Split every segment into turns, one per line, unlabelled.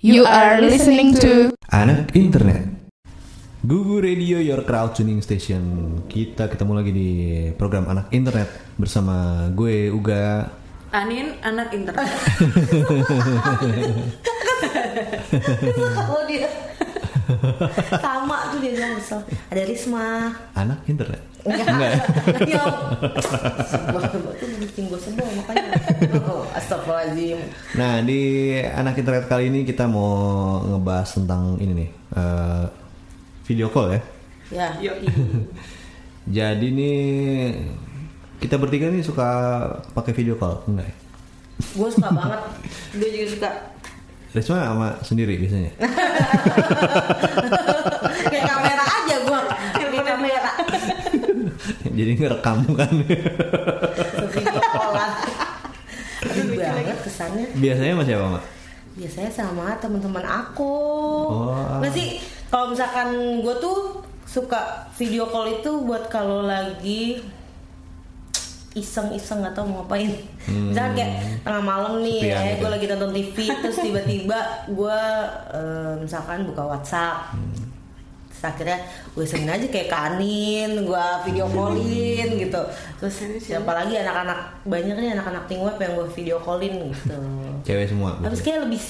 You are listening to
Anak Internet Gugu Radio Your Crowd Tuning Station Kita ketemu lagi di program Anak Internet Bersama gue Uga
Anin anak internet.
Oh dia sama tuh dia bilang kesel. Ada Risma.
Anak Internet
Enggak. Ya. Sumpah, Itu bikin gue sebel makanya. Oh, Astagfirullahaladzim.
Nah di Anak Internet kali ini kita mau ngebahas tentang ini nih eh, Video call ya
Yo
Ya.
Jadi nih kita bertiga nih suka pakai video call enggak ya?
Gue suka banget.
Gue juga suka.
Risma sama sendiri biasanya
Kayak kamera aja gue. Kayak kamera.
Jadi ngerekam kan
Video callan. Sedih banget kesannya.
Biasanya sama siapa mak?
Biasanya sama teman-teman aku.
Oh.
Nggak sih? Kalau misalkan gue tuh suka video call itu buat kalau lagi iseng-iseng atau mau ngapain misalnya kayak tengah malam nih
Sepian
ya
Hmm. gitu.
gue lagi nonton TV terus tiba-tiba gue eh, misalkan buka WhatsApp
Hmm.
terus akhirnya gue isengin aja kayak kanin gue video callin gitu terus siapa lagi anak-anak banyak nih anak-anak ting web yang gue video callin gitu
Cewek semua. berarti.
habis kayak lebih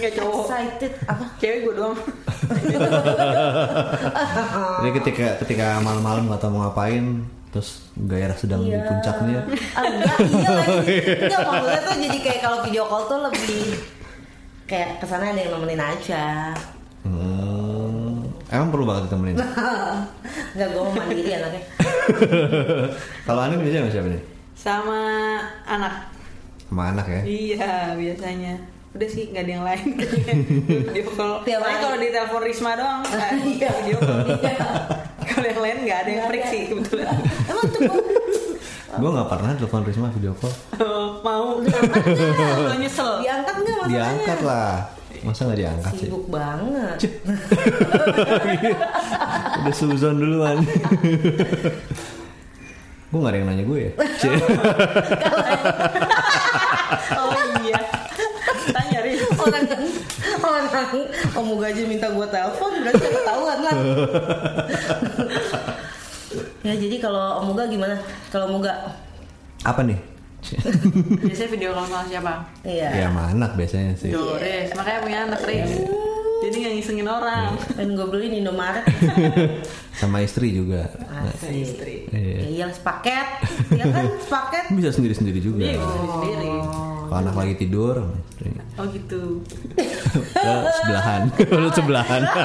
Enggak cowok.
excited apa
Cewek gue doang.
Jadi ketika ketika malam-malam nggak tahu mau ngapain, terus gairah sedang di puncaknya.
Ah, enggak, iya lagi. Enggak, maksudnya tuh jadi kayak kalau video call tuh lebih kayak kesana ada yang nemenin aja.
Hmm, emang perlu banget ditemenin.
Enggak, gue mau mandiri anaknya.
Kalau aneh biasanya sama siapa nih?
Sama anak.
Sama anak ya.
Iya biasanya. Udah sih nggak ada yang lain. kayaknya. video call.
Tiap
Paling
hari.
kalau di telepon Risma doang. kan,
Iya.
video call. Kalau yang lain nggak ada yang
Nggak
freak
ada.
sih kebetulan.
Emang tuh gua-
Gue nggak pernah telepon Risma video call.
Oh, Mau.
kan?
Lo nyesel.
diangkat enggak masalahnya?
Diangkat lah. Masa nggak diangkat sih?
Sibuk banget.
Udah suzon duluan. gue nggak ada yang nanya gue ya. Cie.
Oh iya. Tanya Riz.
Orang orang kamu aja minta gue telepon berarti kan, udah ketahuan lah. ya jadi kalau Omuga gimana? Kalau Omuga
Apa nih? Cie.
Biasanya video call sama siapa?
iya.
Ya sama anak biasanya sih.
Doris. Makanya punya anak Riz. Jadi nggak ngisengin orang.
Iya.
Pengen gue beliin Indomaret
Sama istri juga.
Asli
Istri.
Iya.
Ya iyalah sepaket Ya kan sepaket
Bisa sendiri-sendiri juga.
Iya, bisa sendiri.
Kalau anak lagi tidur,
Oh gitu.
ke sebelahan, ke sebelahan.
Gue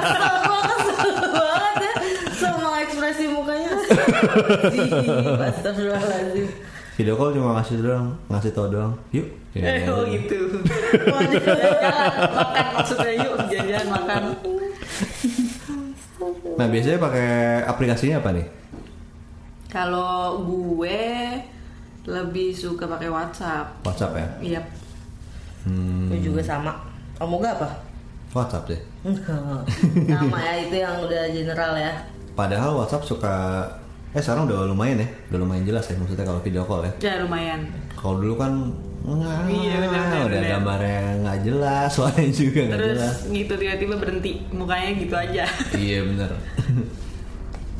kesel banget ya Sama ekspresi mukanya Astagfirullahaladzim
Video call cuma ngasih doang, ngasih tau doang. Yuk.
Eh,
Ya,
oh
Iya.
gitu. Waduh, jalan makan maksudnya yuk jajan makan.
Nah biasanya pakai aplikasinya apa nih?
Kalau gue lebih suka pakai WhatsApp.
WhatsApp
Iya.
ya.
Gue
Hmm.
juga sama Omoga apa?
WhatsApp sih.
Sama ya itu yang udah general ya
Padahal WhatsApp suka Eh sekarang udah lumayan ya, udah lumayan jelas ya maksudnya kalau video call ya.
Ya lumayan.
Kalau dulu kan nah,
Iya, benar, benar,
udah
benar.
gambarnya nggak jelas, suaranya juga nggak jelas.
Terus gitu tiba-tiba berhenti mukanya gitu aja.
Iya bener.
Nah.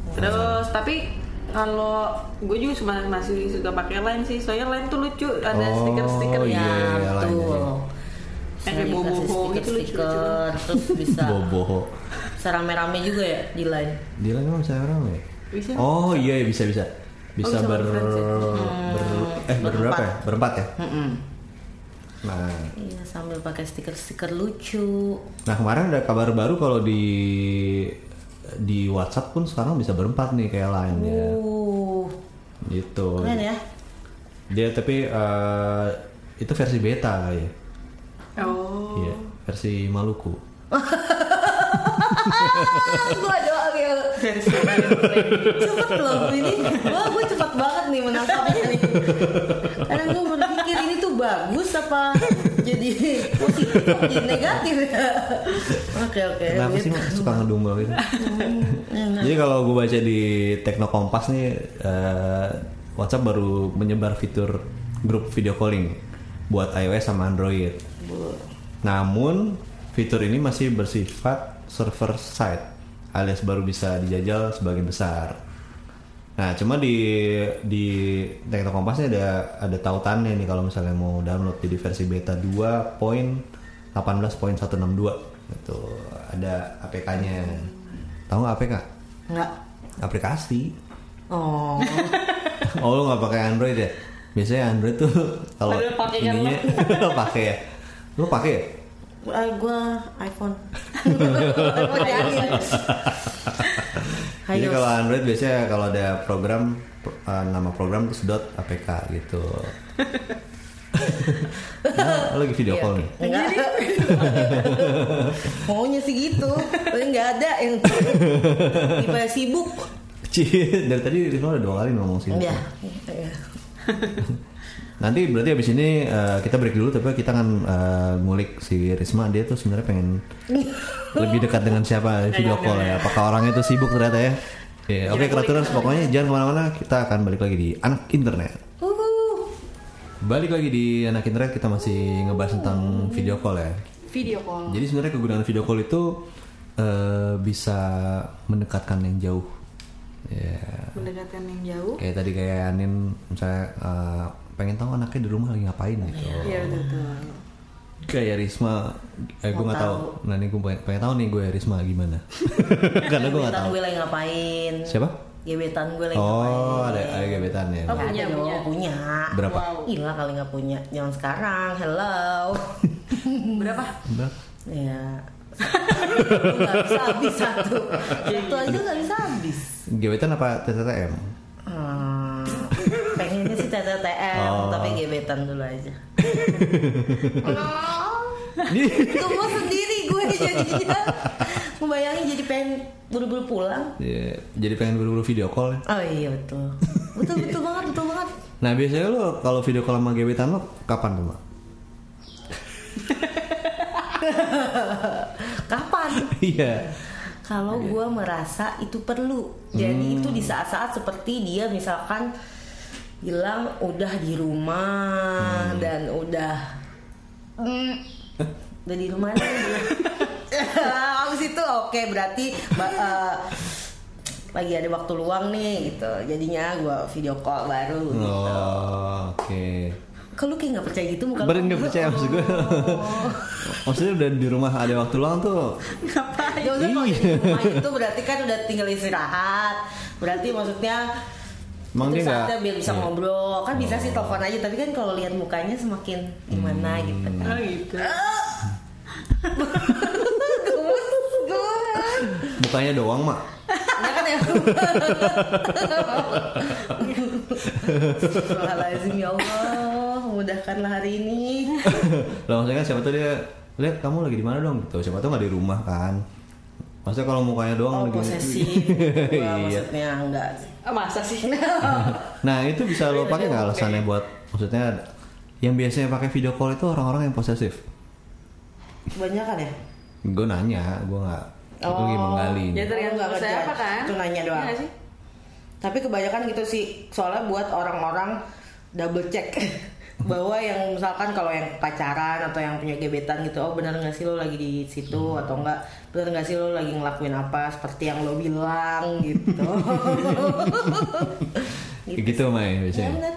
Terus tapi kalau gue juga cuma masih suka pakai line sih, soalnya line tuh lucu, ada
Oh,
stiker-stiker ya.
iya, iya, lain
Betul
aja.
Yang kayak
Bisa dikasih
bobo-bobo gitu lucu-lucu.
stiker-stiker, Terus bisa
Boboho.
Secara rame-rame juga ya di line
Dia lagi bisa orang ya?
Bisa.
Oh iya iya, bisa bisa. Bisa,
bisa
ber,
berfriends ya?
ber eh berberapa ya? Berempat ya. Nah,
Iya sambil pakai stiker-stiker lucu
nah kemarin ada kabar baru kalau di di WhatsApp pun sekarang bisa berempat nih kayak lain ya.
Uh
Gitu.
Keren ya
Dia tapi eh, itu versi beta kali ya.
Oh.
Iya, versi Maluku.
Gue doang yang cepet loh ini wah gue cepet banget nih menangkapnya nih karena gue berpikir ini tuh bagus apa jadi positif apa jadi negatif ya oke oke
Kenapa sih Mak, suka ngedumel gitu? Jadi kalau gue baca di Tekno Kompas nih eh, WhatsApp baru menyebar fitur grup video calling buat iOS sama Android. Namun Fitur ini masih bersifat server side alias baru bisa dijajal sebagian besar. Nah, cuma di di Tekno Kompasnya ada ada tautannya nih kalau misalnya mau download jadi versi beta 2.18.162 itu Gitu. ada APK-nya. Tahu nggak APK?
Enggak.
Aplikasi.
Oh.
Oh lu nggak pakai Android ya? Biasanya Android tuh kalau
Padahal pakai kan
ininya lo pakai ya? Lo pakai ya?
Ah, gua iPhone. Gua jahil.
Jadi
Hayos.
kalau Android biasanya kalau ada program pro- eh, nama program terus dot apk gitu. nah, lo lagi
Iya,
video call nih.
Enggak. Maunya sih gitu. Tapi enggak ada yang tipe sibuk.
Cie, dari tadi Rino udah dua kali ngomong sini.
Iya.
Ya.
Nanti berarti abis ini eh, kita break dulu tapi kita akan eh, ngulik si Risma dia tuh sebenarnya pengen lebih dekat dengan siapa di video call ya. Apakah orangnya tuh sibuk ternyata ya? Iya, Oke, Kreaturers, pokoknya jangan kemana-mana. Kita akan balik lagi di anak internet. Balik lagi di anak internet kita masih ngebahas tentang video call ya.
Video call.
Jadi sebenarnya kegunaan video call itu eh, bisa mendekatkan yang jauh. Ya.
mendekatkan yang jauh
Kayak tadi kayak Anin misalnya eh, pengen tahu anaknya di rumah lagi ngapain gitu.
Iya.
ya betul
Kayak Risma, eh, gue nggak tahu. Nah ini gue pengen, pengen tahu nih gue Risma gimana. Karena gue nggak
Gebetan
tahu.
gue lagi ngapain?
Siapa?
Gebetan gue lagi ngapain?
Oh ada ada gebetan ya.
Oh,
Punya,
Punya,
punya. punya.
Berapa?
Gila kali nggak punya. Jangan sekarang. Hello.
Hmm.
berapa
Berapa?
ya. Lu nggak bisa habis satu. Satu aja nggak bisa habis.
Gebetan apa TTTM?
Hmm, pengennya sih TTTM
Oh.
tapi gebetan dulu aja.
Ih,
Tunggu sendiri gue jadinya. Ngebayangin jadi pengen buru-buru pulang.
Iya, Jadi pengen buru-buru video call. ya.
Oh iya betul. Betul betul banget betul banget.
Nah biasanya lo kalau video call sama gebetan lo kapan tuh? Mak?
Kapan?
Iya. Hmm.
Kalau gue merasa itu perlu. Jadi itu di saat-saat seperti dia misalkan bilang udah di rumah
Hmm.
dan udah mm, udah di rumah nih. Abis itu oke berarti ba- eh, lagi ada waktu luang nih gitu. Jadinya gue video call baru.
Hmm.
gitu.
Oh, oke.
Kok lu kayak gak percaya gitu muka lu?
Baru nggak percaya maksud gue. Maksudnya udah di rumah ada waktu luang tuh.
Ya udah kalau
Iya.
di rumah itu berarti kan udah tinggal istirahat. Berarti maksudnya
Emang
itu
dia nggak-
saatnya biar bisa
iya. Oh.
ngobrol. Kan bisa sih telepon aja, tapi kan kalau lihat mukanya semakin gimana
Hmm.
gitu
Nah.
kan.
oh gitu
Gemes, gemes.
Mukanya doang mak.
Nah kan ya. Astagfirullahaladzim ya Allah, mudahkanlah hari ini.
Lah maksudnya kan siapa tuh dia lihat kamu lagi di mana dong gitu. Siapa tuh nggak di rumah kan. Maksudnya kalau mukanya doang
Oh,
lagi.
posesif.
Iya.
Gua maksudnya enggak.
Ah, masa sih
Nah itu bisa
Iya,
lo pakai nggak alasannya buat maksudnya yang biasanya pakai video call itu orang-orang yang posesif.
Kebanyakan ya?
Gue nanya, gue nggak, gue lagi
Oh,
menggali.
ya tergantung
Nggak
saya
kerja.
apa kan
Itu nanya doang.
Iya nggak sih?
Tapi kebanyakan gitu sih, soalnya buat orang-orang double check bahwa yang misalkan kalau yang pacaran atau yang punya gebetan gitu, oh benar nggak sih lo lagi di situ atau enggak? Benar nggak sih lo lagi ngelakuin apa seperti yang lo bilang gitu.
Kayak gitu Mai
Ya,
biasanya.
bener.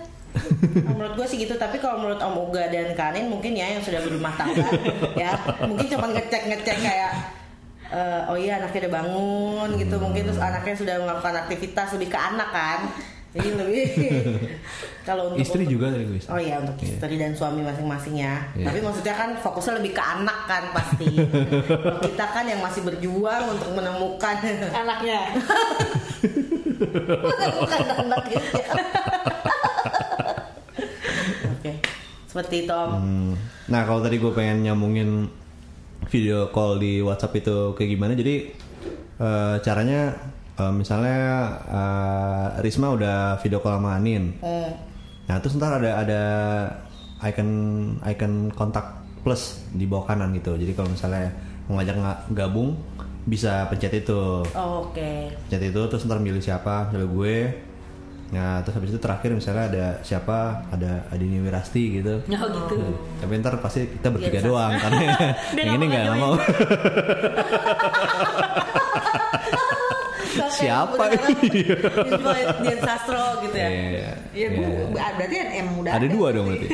Nah, menurut gue sih gitu, tapi kalau menurut Om Uga dan Kanin mungkin ya yang sudah berumah tangga ya mungkin cuma ngecek-ngecek kayak eh, oh iya anaknya udah bangun gitu
Hmm.
mungkin terus anaknya sudah melakukan aktivitas lebih ke anak kan jadi lebih kalau untuk
Istri juga tadi gue.
Oh iya untuk istri dan suami masing-masing ya.
Iya.
Tapi maksudnya kan fokusnya lebih ke anak kan pasti. Kalau kita kan yang masih berjuang untuk menemukan
anaknya
menemukan anak gitu. Oke. Seperti itu Om.
Hmm. Nah kalau tadi gue pengen nyambungin video call di WhatsApp itu kayak gimana, jadi eh, caranya eh, misalnya eh, Risma udah video call sama Anin,
Hmm.
nah terus ntar ada ada icon icon kontak plus di bawah kanan gitu, jadi kalau misalnya mau ngajak nga- gabung bisa pencet itu,
Oh, Oke.
pencet itu terus ntar milih siapa, misalnya gue, Nah, terus habis itu terakhir misalnya ada siapa, ada Adini Wirasti gitu.
Nah
Oh.
gitu.
Tapi ntar pasti kita bertiga
Biasa.
doang karena
Dia
yang ini
nggak
nggak
mau
mau.
Kakek
Siapa
udah
ini?
kan influence Dian Sastro gitu ya.
Iya.
Ya
Iya.
gue berarti emang udah
Ada dua dong berarti.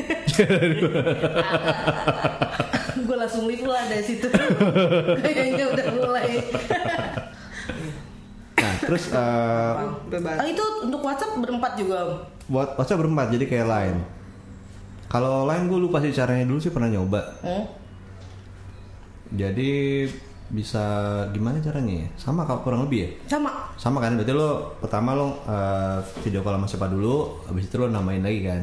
gue langsung live lah dari situ. Kayaknya udah mulai.
Nah, terus eh,
Ah, itu untuk WhatsApp berempat juga. Om?
buat WhatsApp berempat jadi kayak lain. Kalau lain gue lupa sih caranya dulu sih pernah nyoba.
Hmm?
Jadi bisa gimana caranya? ya? Sama kak kurang lebih ya?
Sama.
Sama kan? Berarti lo pertama lo eh, video call sama siapa dulu, habis itu lo namain lagi kan?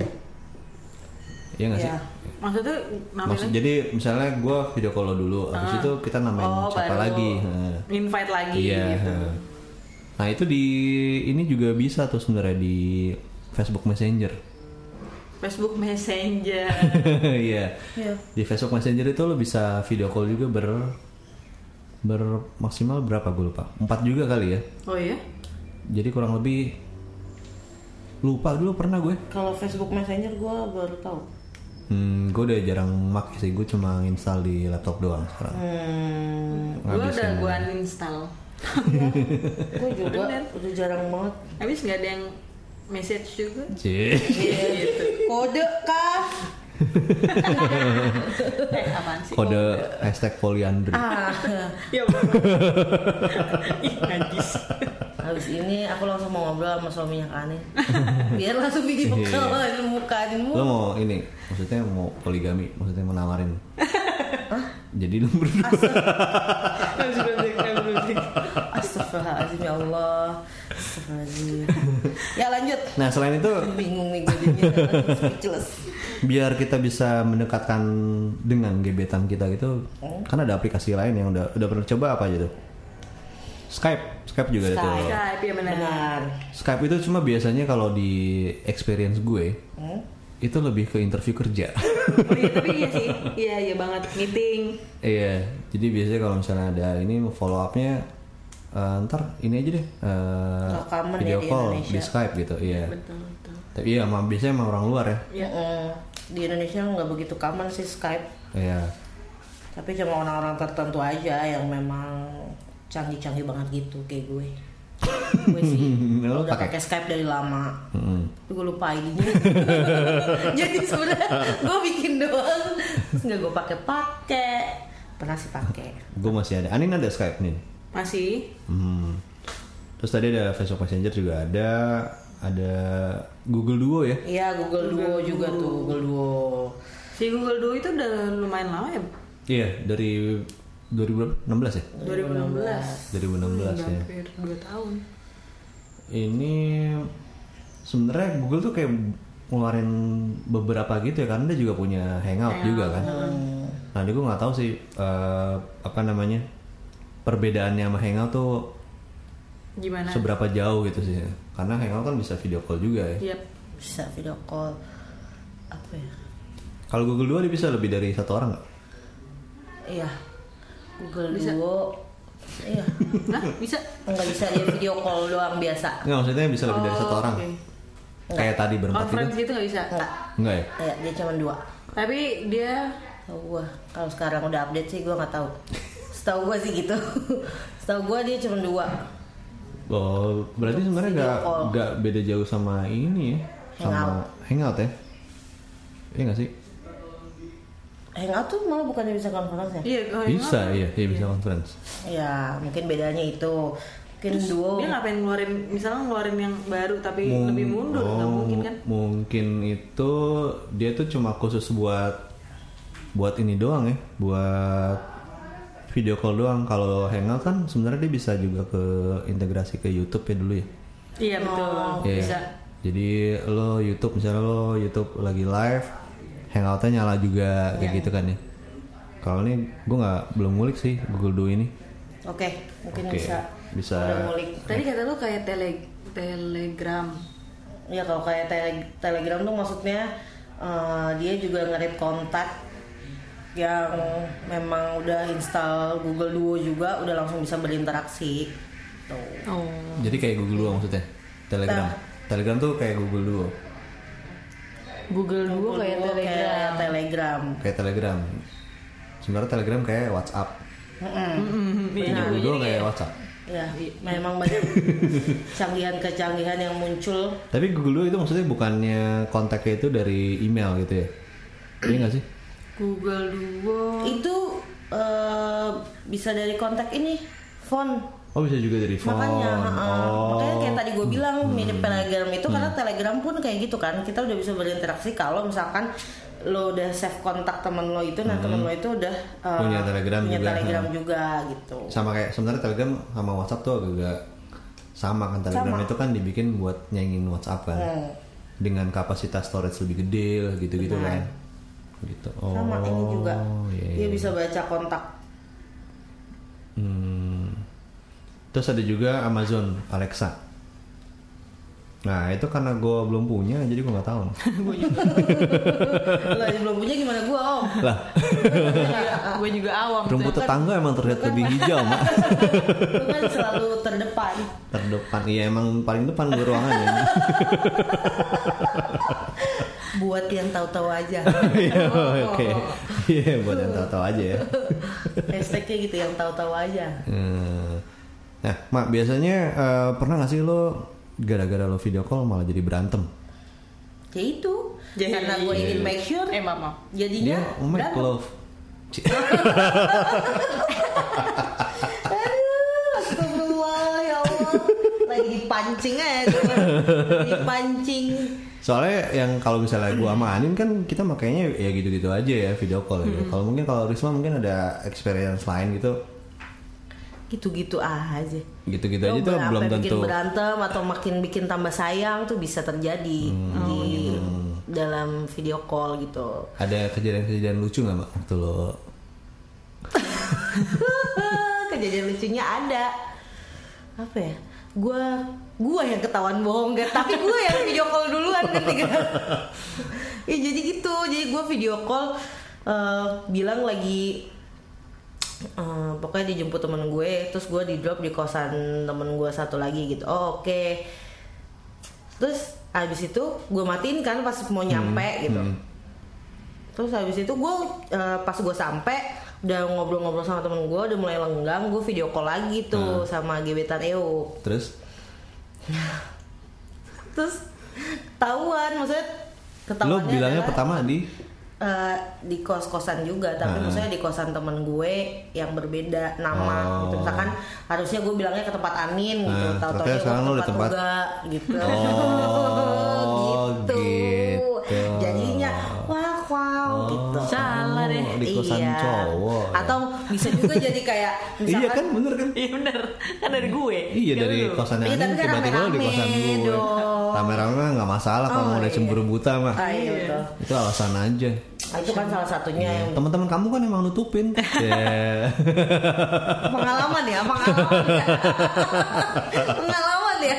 Iya nggak sih?
Iya.
Maksudnya namanya
Maksud, jadi misalnya gue video call lo dulu, habis itu kita namain
Oh,
siapa
baru
lagi? Nah. Heeh.
invite lagi
Iya.
gitu.
heeh. Nah itu di ini juga bisa tuh sebenarnya di Facebook Messenger.
Facebook Messenger.
Iya.
Iya.
Di Facebook Messenger itu lo bisa video call juga ber ber maksimal berapa gue lupa. Empat juga kali ya.
Oh iya.
Jadi kurang lebih lupa dulu pernah gue.
Kalau Facebook Messenger gue baru tahu.
Hmm, gue udah jarang make sih. Gue cuma install di laptop doang sekarang.
Hmm,
Gue udah
kan.
gue uninstall.
gue juga udah jarang banget.
Habis nggak ada yang message juga.
Cie.
gitu.
Kode kah?
Eh apaan sih?
Kode hashtag Poliandri.
Ah,
Ya Allah. Ih, najis.
habis ini aku langsung mau ngobrol sama suaminya Kani. Biar langsung bikin bekal di muka di
Lo
muka.
mau ini, maksudnya mau poligami, maksudnya mau nawarin. Jadi lo berdua.
Harus berhenti, harus berhenti.
Astagfirullahaladzim ya Allah. Astagfirullahaladzim. Ya lanjut.
Nah selain itu
Bingung nih gue jadinya. Speechless.
biar kita bisa mendekatkan dengan gebetan kita gitu, kan ada aplikasi lain yang udah udah pernah coba apa aja tuh? Skype, Skype juga ada tuh.
Skype ya benar.
Benar.
Skype itu cuma biasanya kalau di experience gue
Hmm?
itu lebih ke interview kerja.
Oh, iya, tapi iya sih, iya iya banget meeting.
Iya, jadi biasanya kalau misalnya ada ini follow upnya eh, ntar ini aja deh eh,
Rekaman ya
video
di
call
Indonesia.
di Skype gitu, iya.
Betul betul.
Tapi iya, emang biasanya emang orang luar ya.
Mm-mm. Di Indonesia nggak begitu common sih Skype.
Iya.
tapi cuma orang-orang tertentu aja yang memang canggih-canggih banget gitu kayak gue gue sih
Mm, Lo
udah
pakai?
pakai Skype dari lama
Mm-mm.
tapi gue lupa id jadi sebenarnya gue bikin doang Terus nggak gue pakai pakai pernah sih pakai
Gue masih ada. Anin ada Skype nih.
Masih
Hmm. Terus tadi ada Facebook Messenger juga ada, ada Google Duo ya.
iya Google Duo juga tuh Google Duo
si Google Duo itu udah lumayan lama ya.
Iya, dari 2016 ya?
2016.
2016 ya.
Hmm, Hampir 2 tahun.
Ini sebenarnya Google tuh kayak ngeluarin beberapa gitu ya karena dia juga punya Hangout juga kan. Nah, dia gue nggak tahu sih eh, apa namanya perbedaannya sama Hangout tuh
Gimana?
seberapa jauh gitu sih. Karena Hangout kan bisa video call juga
Iya.
ya.
Yap.
bisa video call apa ya
Kalau Google Duo dia bisa lebih dari satu orang nggak?
iya Google Duo iya
Nah, bisa.
nggak bisa dia video call doang biasa
Nggak maksudnya bisa lebih dari satu
Oh,
orang.
oke.
Kayak tadi berempat
Conference
gitu.
gitu nggak bisa.
nggak
Enggak ya?
Iya, dia cuma dua
Tapi dia
Tahu gua kalau sekarang udah update sih gua nggak tahu. Setahu gua sih gitu. Setahu gua dia cuma dua.
Oh, berarti sebenarnya
video
nggak
call.
nggak beda jauh sama ini ya, sama hangout ya? Iya nggak sih?
Hangout tuh malah bukannya bisa conference ya?
iya kalau yang
Bisa, iya, iya bisa conference.
Iya, mungkin bedanya itu. Mungkin duo.
dia ngapain ngeluarin misalnya ngeluarin yang baru tapi lebih mundur nggak
Oh,
mungkin kan
mungkin itu dia tuh cuma khusus buat buat ini doang ya, buat video call doang. Kalau hangout kan sebenarnya dia bisa juga ke integrasi ke YouTube ya dulu ya.
iya betul
Iya.
bisa
Jadi lo YouTube misalnya lo YouTube lagi live, hangoutnya nyala juga kayak
Iya.
gitu kan ya. Kalau ini gue nggak belum ngulik sih Google Duo ini.
Oke, mungkin
Oke,
bisa.
bisa.
Udah ngulik.
tadi kata lu kayak tele telegram
Ya kalau kayak tele- Telegram tuh maksudnya eh, dia juga ngerit kontak yang memang udah install Google Duo juga udah langsung bisa berinteraksi. Tuh.
oh
Jadi kayak Google Duo maksudnya, Telegram.
Nah,
Telegram tuh kayak Google Duo,
Google Duo kayak
Oke,
Telegram.
Telegram.
kayak Telegram. Sebenarnya Telegram kayak WhatsApp.
Mm-mm. Iya.
Punya Google kayak WhatsApp.
Ya, memang banyak canggihan-kecanggihan yang muncul.
Tapi Google Duo itu maksudnya bukannya kontaknya itu dari email gitu ya? Iya nggak sih?
Google Duo.
Itu eh, bisa dari kontak ini, font.
Oh bisa juga dari phone.
Makanya, eh,
oh. Hmm.
makanya kayak tadi gue bilang mirip Telegram itu karena Telegram pun kayak gitu kan. Kita udah bisa berinteraksi kalau misalkan lo udah save kontak temen lo itu, nah temen lo itu udah eh,
Hmm. Punya Telegram
punya
juga,
Telegram
ha.
juga gitu.
sama kayak sebenarnya Telegram sama WhatsApp tuh agak sama kan Telegram itu kan dibikin buat nyaingin WhatsApp kan
Hmm.
dengan kapasitas storage lebih gede lah gitu-gitu kan gitu oh
Sama ini juga,
iya,
dia
iya.
bisa baca kontak.
Hmm. terus ada juga Amazon Alexa nah itu karena gue belum punya jadi gue nggak tahu
lo aja belum punya gimana gue om?
lah
Gue juga awam. tuh.
rumput tetangga emang terlihat lebih hijau mak
Lo kan selalu terdepan.
terdepan iya emang paling depan ya. gue ruangannya
Buat yang tahu-tahu aja.
Iya, oke iya buat yang tahu-tahu aja ya
Hashtagnya gitu yang tahu-tahu aja.
Hmm. Nah, Mak, biasanya eh, pernah gak sih lo gara-gara lo video call malah jadi berantem?
Ya itu.
Jadi-
Karena gue ingin make sure.
Eh mama.
Jadinya
Iya. oh my
Iya, berantem.
love. Ci-
Aduh, astagfirullah ya Allah. Lagi dipancing aja. coba. dipancing.
Soalnya yang kalau misalnya gua sama Anin kan kita makanya ya gitu-gitu aja ya video call. gitu. Kalau mungkin kalau Risma mungkin ada experience lain gitu.
Gitu-gitu aja.
Gitu-gitu
Lo
aja tuh
berapa
belum
bikin
tentu.
berantem atau makin bikin tambah sayang tuh bisa terjadi
Hmm.
di dalam video call gitu.
Ada kejadian-kejadian lucu Gitu gak, Mak? Waktu lo
kejadian lucunya ada apa ya gue gue yang ketahuan bohong kan tapi gue yang video call duluan nanti kan ya jadi gitu jadi gue video call eh, bilang lagi eh, pokoknya dijemput temen gue terus gue di drop di kosan temen gue satu lagi gitu oh, oke terus abis itu gue matiin kan pas mau
Hmm.
nyampe gitu terus habis itu gue pas gue sampai udah ngobrol-ngobrol sama temen gue udah mulai lenggang gue video call lagi
Hmm.
tuh sama gebetan Eo
terus
terus ketahuan maksudnya ketahuannya
lo bilangnya
adalah,
pertama di
eh, di kos-kosan juga
Ah.
tapi maksudnya di kosan temen gue yang berbeda nama
Oh.
gitu misalkan harusnya gue bilangnya ke tempat Anin gitu
Ah,
tahu-tahu
ternyata sekarang lo di tempat-
Uga, gitu
Oh, gitu. Oh.
jadinya wah wow gitu
Salah deh.
Di kosan
Iya.
cowok. ya.
Atau bisa juga jadi kayak misalkan
Iya kan, bener kan?
Iya bener. Kan dari gue.
Iya
Kan
dari
lu.
kosan
Iya,
yang
tapi
ini
kan
tiba-tiba lo di
rame-rame
kosan gue.
dong.
Rame-rame mah nggak masalah kalau
Oh,
udah
iya.
cemburu buta mah.
Ah, iya, betul.
Itu alasan aja.
Ah, itu kan salah satunya yang
Teman-teman kamu kan emang nutupin. Ya.
pengalaman ya, pengalaman ya. pengalaman ya.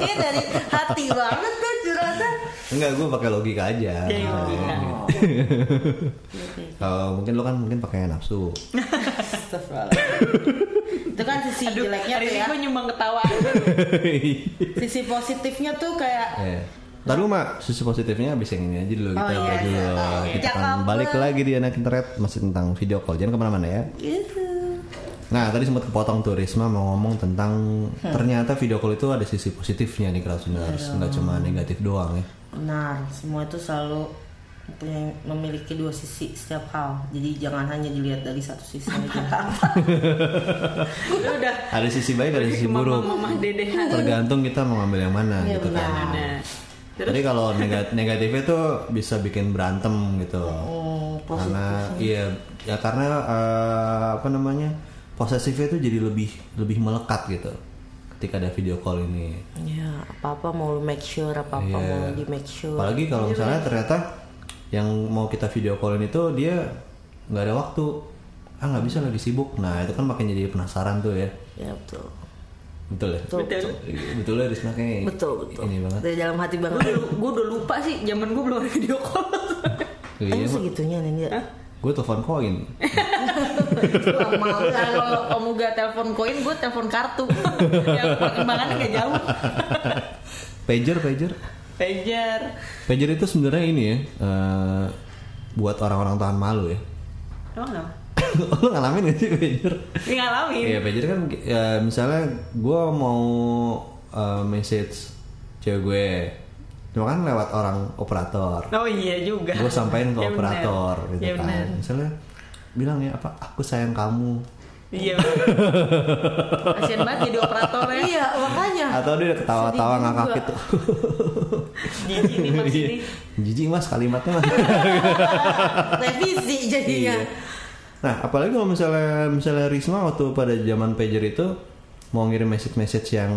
Dia dari hati banget kan, tuh curhatnya.
Enggak, gue pakai logika aja.
Iya, iya, iya.
Kalau mungkin lo kan mungkin pakai nafsu.
itu kan sisi
Aduh,
jeleknya
hari
tuh
ini
ya.
gue nyumbang ketawa.
Sisi positifnya tuh kayak
Eh. Iya. Ntar lu mak, sisi positifnya abis yang ini aja dulu kita
Oh, iya,
aja dulu.
iya, iya.
Kita akan
Cakep.
balik lagi di anak internet masih tentang video call. Jangan kemana-mana ya.
gitu.
Nah tadi sempat kepotong tuh Risma mau ngomong tentang
Hmm.
ternyata video call itu ada sisi positifnya nih kalau
Iya.
harus nggak cuma negatif doang ya.
Benar, nah, semua itu selalu punya memiliki dua sisi setiap hal. Jadi jangan hanya dilihat dari satu sisi aja.
Lu udah
Ada sisi baik ada sisi buruk.
mamah dedeh.
Tergantung kita mau ngambil yang mana
Iya,
gitu kan.
benar.
Nah,
Jadi kalau nega- negatifnya tuh bisa bikin berantem gitu.
Oh,
karena iya ya karena eh, apa namanya posesifnya tuh jadi lebih lebih melekat gitu ketika ada video call ini.
Ya, apa-apa mau lu make sure, apa-apa
Iya.
mau di make sure.
Apalagi kalau misalnya ternyata yang mau kita video callin itu dia nggak ada waktu, ah nggak bisa lagi sibuk. Nah itu kan makin jadi penasaran tuh ya,
Ya betul.
betul ya.
Betul. Betul.
Betul ya Rizna kayaknya
Betul, betul.
Ini banget. Iya,
Dari dalam hati banget.
gue udah- gue udah lupa sih zaman gue belum ada video call.
Iya,
gitu. Emang segitunya nih dia.
gue telepon koin.
mau ya lo.
Kalau Omuga telepon koin, gue telepon kartu. Yang perkembangannya gak jauh.
Pager, pager.
Pager.
Pager itu sebenarnya ini ya. eh, buat orang-orang tahan malu ya.
Emang kenapa?
Lo ngalamin gak sih pager?
Ini ngalamin.
Iya, pager kan eh, misalnya gue mau eh, message cewek gue. Cuma kan lewat orang operator.
Oh iya juga.
gue sampaikan ke
Ya benar.
operator gitu
Ya
kan
benar.
misalnya bilang ya apa aku sayang kamu
Iya. Kasian banget jadi operator ya.
Iya, makanya.
atau dia udah ketawa-tawa
Sedih
ngakak
juga.
gitu
Jijik nih
Iya.
maksudnya.
jijik mas kalimatnya mas
Revisi jadinya.
Iya. nah apalagi kalau misalnya misalnya Risma waktu pada zaman pager itu mau ngirim message-message yang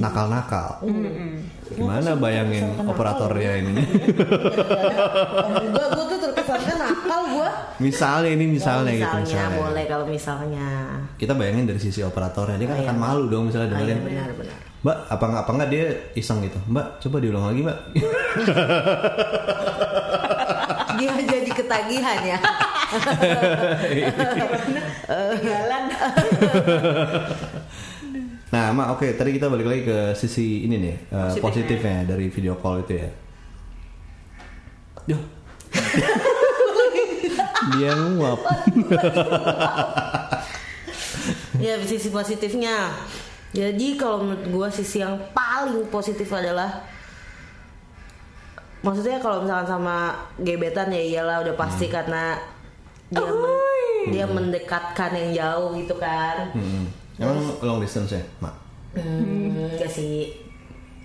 nakal-nakal gimana bayangin operatornya ini
Enggak, gue ya? tuh terkesan kan nakal gue.
misalnya ini misalnya, gitu misalnya
boleh kalau misalnya.
kita bayangin dari sisi operatornya dia kan akan malu dong misalnya dengerin
iya, benar, benar.
mbak apa nggak apa nggak dia iseng gitu mbak coba diulang lagi mbak
Dia jadi ketagihan ya.
Jalan.
Nah, Ma, oke, tadi kita balik lagi ke sisi ini nih, eh, positifnya. dari video call itu ya. Duh. Dia nguap.
ya sisi positifnya. Jadi kalau menurut gue sisi yang paling positif adalah maksudnya kalau misalkan sama gebetan ya iyalah udah pasti
Hmm.
karena dia men- dia mendekatkan yang jauh gitu kan.
Hmm. Emang long distance ya, Ma?
Hmm, enggak sih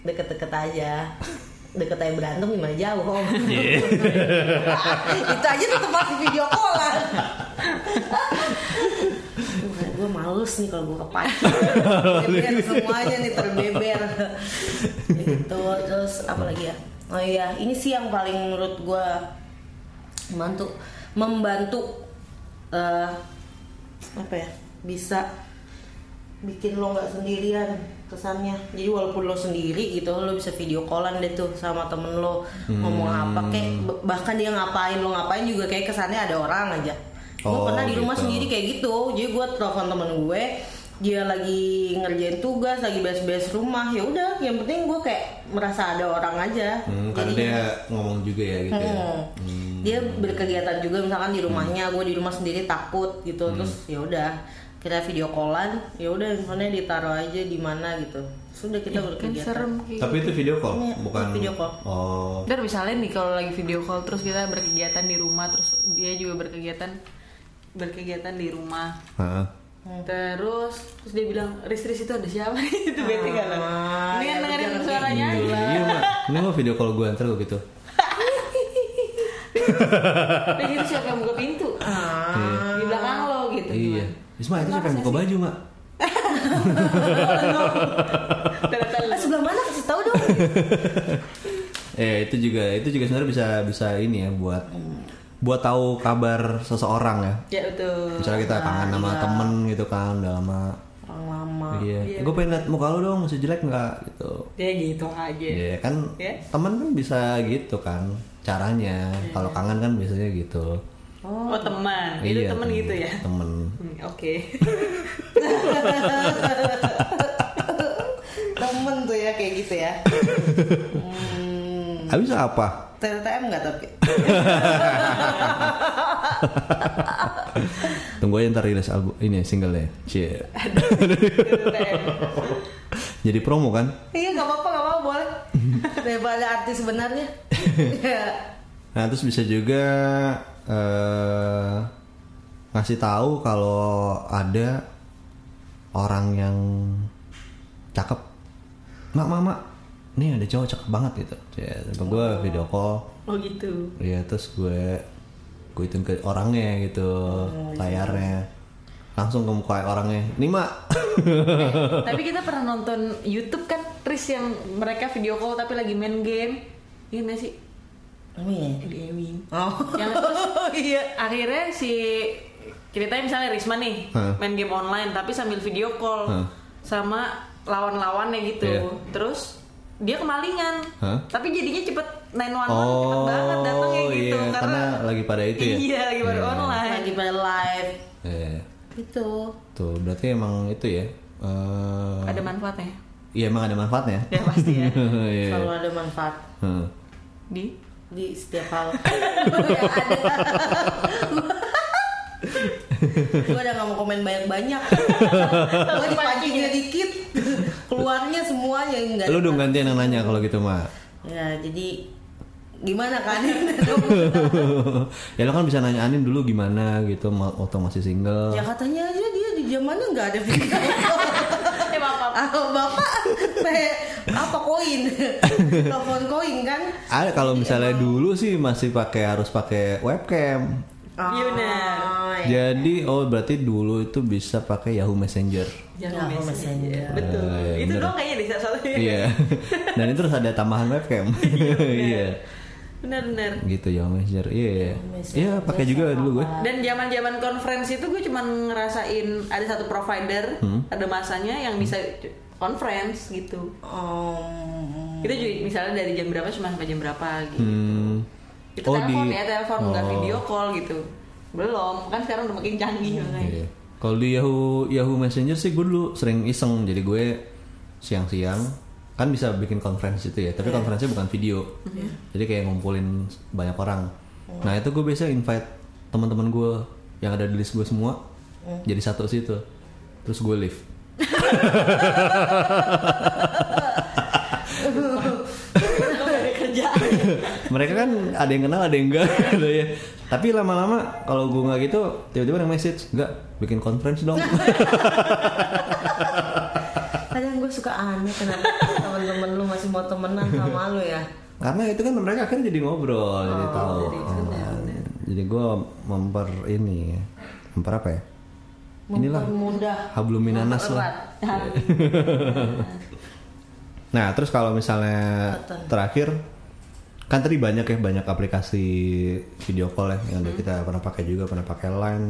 deket-deket aja deket aja berantem gimana jauh om itu aja tetap masih video callan gue males nih kalau gue kepancing Beber kan semuanya nih terbeber gitu terus apa lagi ya oh iya ini sih yang paling menurut gue membantu membantu eh, apa ya bisa bikin lo nggak sendirian kesannya jadi walaupun lo sendiri gitu lo bisa video callan deh tuh sama temen lo ngomong
Hmm.
apa kayak b- bahkan dia ngapain lo ngapain juga kayak kesannya ada orang aja gue
Oh,
pernah di rumah
gitu.
sendiri kayak gitu jadi gue telepon temen gue dia lagi ngerjain tugas lagi beres-beres rumah ya udah yang penting gue kayak merasa ada orang aja
Hmm, karena
Jadi-
dia ngomong juga ya gitu ya.
Hmm. Dia berkegiatan juga misalkan di rumahnya, gue di rumah sendiri takut gitu.
Hmm.
Terus ya udah kita video callan, ya udah handphonenya ditaruh aja di mana gitu. Sudah kita berkegiatan.
Tapi itu video call,
Iya,
bukan
video call.
Oh.
Ntar misalnya nih kalau lagi video call terus kita berkegiatan di rumah terus dia juga berkegiatan berkegiatan di rumah
Hah.
terus terus dia bilang ris ris itu ada siapa itu bete gak lo
Ah,
ini kan
ya,
dengerin
jangan
suaranya
Iya, iya, Ma. Ini mau video call gue antar lo gitu.
tapi gitu siapa yang buka pintu
Ah.
di belakang lo gitu
Ah, Iya. Risma itu siapa yang buka baju, Ma?
ternyata
Ah, sebelah mana kasih tahu dong.
Eh itu juga itu juga sebenarnya bisa bisa ini ya buat buat tahu kabar seseorang ya.
ya betul
Misalnya kita kangen sama temen gitu kan udah lama.
Orang lama.
Iya. Gue pengen liat muka lu dong masih jelek nggak gitu.
dia gitu aja
Iya kan
Iya.
temen kan bisa gitu kan caranya. Kalau kangen kan biasanya gitu.
oh, teman itu
Iya,
teman gitu ya
Temen.
Hmm, oke
Temen tuh ya kayak gitu ya. Hmm,
Habis apa?
TTM nggak tapi.
Tunggu aja ntar rilis album ini singlenya. Cie. Jadi promo kan?
Iya nggak apa-apa nggak apa-apa boleh. Daripada artis sebenarnya. Ya.
Nah terus bisa juga eh ngasih tahu kalau ada orang yang cakep, mak mak mak, nih ada cowok cakep banget gitu. Ya, gue video call,
oh gitu
ya terus gue gue ituin ke orangnya gitu,
Oh, iya.
layarnya, langsung ke muka orangnya, nih mak.
Tapi kita pernah nonton YouTube kan Tris yang mereka video call tapi lagi main game. Iya nggak sih?
Ini ya?
Gaming.
Oh.
Yang terus akhirnya si ceritanya misalnya Risma nih
Hah.
main game online tapi sambil video call
Hah.
sama lawan-lawannya gitu.
Iya.
Terus dia kemalingan.
Hah?
Tapi jadinya cepet 911 cepet
Oh,
banget datangnya gitu
iya, karena lagi pada itu ya?
Iya, lagi pada
Iya.
online.
lagi pada live Gitu.
Tuh, berarti emang itu ya. eh,
Ada manfaatnya
Iya emang ada manfaatnya.
ya pasti ya
Iya.
Selalu ada manfaat
Heeh.
di
di setiap hal. gue udah gak mau komen banyak-banyak gue dipancingnya dikit keluarnya semuanya enggak
Lu dong gantian yang nanya kalau gitu mah.
ya jadi gimana kan
ya lo kan bisa nanya Anin dulu gimana gitu ma- waktu masih single.
ya katanya aja dia di zamannya nggak ada video
eh maaf
Ah, bapak teh, apa koin telepon koin kan
Ah, kalau misalnya dulu sih masih pakai harus pakai webcam.
Ah,
Iya, benar.
Jadi oh berarti dulu itu bisa pakai Yahoo Messenger. Nah,
jangan Iya,
Yahoo Messenger.
betul
Eh,
itu
bener.
doang kayaknya deh satu-satunya
Iya. Dan itu terus ada tambahan webcam. Iya.
benar-benar
gitu Yahoo Messenger. Iya. iya. Iya, pakai juga dulu gue.
Dan zaman-zaman konferensi itu gue cuman ngerasain ada satu provider,
Hmm?
ada masanya yang bisa c- conference gitu.
Oh.
Om,
Kita juga misalnya dari jam berapa cuma sampai jam berapa gitu.
Hmm. Oh.
Itu telepon ya, telepon nggak video call gitu. Belum, kan sekarang udah makin canggih makanya.
Iya. Kalau di Yahoo Yahoo Messenger sih gue dulu sering iseng jadi gue siang-siang kan bisa bikin konferensi itu ya, tapi konferensinya bukan video. Jadi kayak ngumpulin banyak orang. Nah, itu gue biasa invite teman-teman gue yang ada di list gue semua jadi satu situ. Terus gue leave. Mereka kan ada yang kenal, ada yang enggak gitu ya. Tapi lama-lama kalau gue nggak gitu, tiba-tiba ada yang message, "Enggak, bikin konferensi dong."
kadang gue suka aneh kenapa teman-teman lu masih mau temenan sama lu ya
karena itu kan mereka akhirnya jadi ngobrol jadi tahu Oh, jadi gue memper ini memper apa ya inilah
mudah
habluminanas lah nah terus kalau misalnya terakhir kan tadi banyak ya banyak aplikasi video call ya yang udah kita pernah pakai juga pernah pakai Line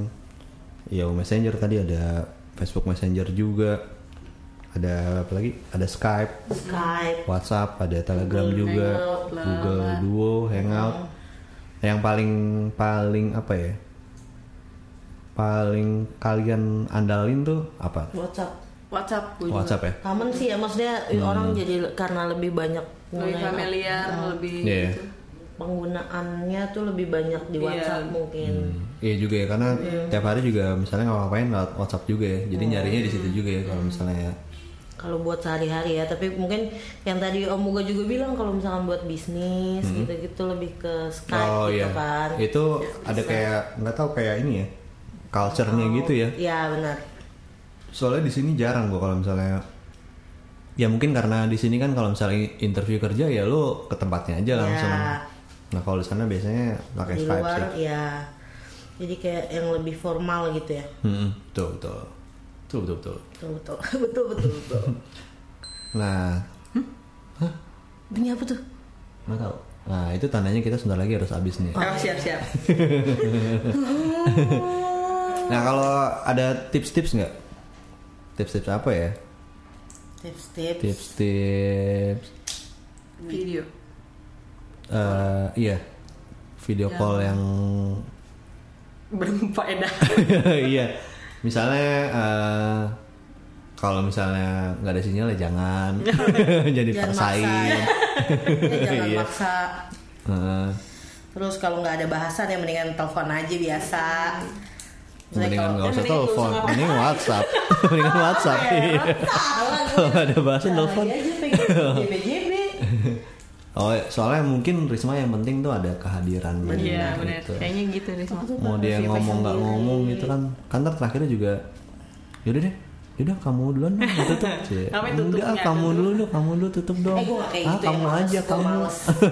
Yahoo Messenger tadi ada Facebook Messenger juga ada apa lagi ada Skype
Skype
WhatsApp, ada Telegram juga,
Hangout lah.
Google Duo, Hangout. Yang paling paling apa ya? Paling kalian andalin tuh apa?
WhatsApp
WhatsApp gue juga.
WhatsApp ya.
Common sih ya maksudnya
Hmm.
orang jadi karena lebih banyak
Lebih
pengguna-
familiar, lebih
Iya.
gitu.
penggunaannya tuh lebih banyak di WhatsApp mungkin.
Iya juga ya karena tiap hari juga misalnya ngapain lewat WhatsApp juga ya. Jadi nyarinya di situ juga ya kalau misalnya
Kalau buat sehari-hari ya, tapi mungkin yang tadi Om Muga juga bilang kalau misalkan buat bisnis gitu-gitu lebih ke Skype
Hmm. Oh
gitu
iya.
kan.
Itu ada kayak nggak tahu kayak ini ya. Culture-nya gitu ya.
Iya benar.
Soalnya di sini jarang gua kalau misalnya ya mungkin karena di sini kan kalau misalnya interview kerja ya lo ke tempatnya aja langsung. Nah kalau di sana biasanya pakai
Ya. Di
Skype
luar
sih.
ya. Jadi kayak yang lebih formal gitu ya.
Hmm, betul betul betul betul. betul.
Betul betul betul betul. betul.
Nah,
Bunyi apa tuh?
nggak tahu. Nah itu tandanya kita sebentar lagi harus habis nih.
Oh, siap siap.
Nah kalau ada tips-tips nggak? Tips-tips apa ya?
Tips-tips.
Tips-tips.
Video.
eh, iya. Video
Ya.
call yang
Bermanfaat.
iya misalnya eh, kalau misalnya nggak ada sinyal ya jangan jadi
Jangan
paksain
Ya, jangan
Iya.
maksa.
Heeh.
Terus kalau nggak ada bahasan ya mendingan telepon aja biasa.
mendingan nggak usah
mendingan nggak
telepon
usah
mending WhatsApp mendingan WhatsApp iya. kalau nggak ada bahasa telepon
Iya.
aja pengen JBJB.
oh iya, soalnya mungkin Risma yang penting tuh ada kehadiran
Iya benar.
gitu.
Kayaknya gitu deh semua.
Nah,
mau dia ngomong nggak ngomong gitu kan kan ntar terakhirnya juga yaudah deh yaudah kamu duluan dong nggak tutup Cie.
Ngapain tutupnya,
enggak kamu
tutup?
dulu dong kamu dulu tutup dong
Eh gue gak kayak
ah,
gitu ya,
kamu
males.
aja
Gua
kamu
males. Males, gua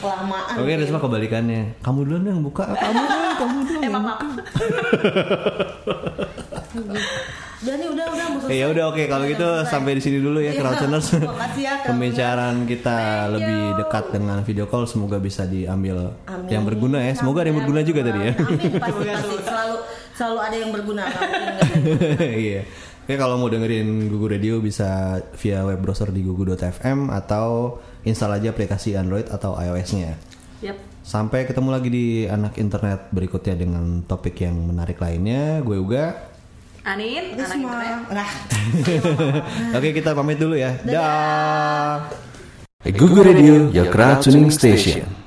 Kelamaan gitu.
Oke, ada semua kebalikannya. Kamu duluan yang buka. Ah, Kamu duluan, kamu duluan.
Eh maaf. maaf.
Udah nih udah udah mau
Eh, ya udah oke kalau gitu sampai di sini dulu ya
Iya,
Crowdtuners.
makasih ya, Kak.
Pembicaraan kita lebih dekat dengan video call semoga bisa diambil
Amin.
yang berguna ya. Semoga ada yang berguna juga tadi ya.
Amin pasti pasti selalu selalu ada yang berguna Gak mungkin gak ada.
Iya. Oke, kalau mau dengerin Gugu Radio bisa via web browser di gugu.fm atau install aja aplikasi Android atau iOS-nya.
Yap.
Sampai ketemu lagi di anak internet berikutnya dengan topik yang menarik lainnya. Gue Uga.
Anin, anak
Risma.
internet.
Nah,
Oke, kita pamit dulu ya. Dah.
Google Radio, your crowd tuning station.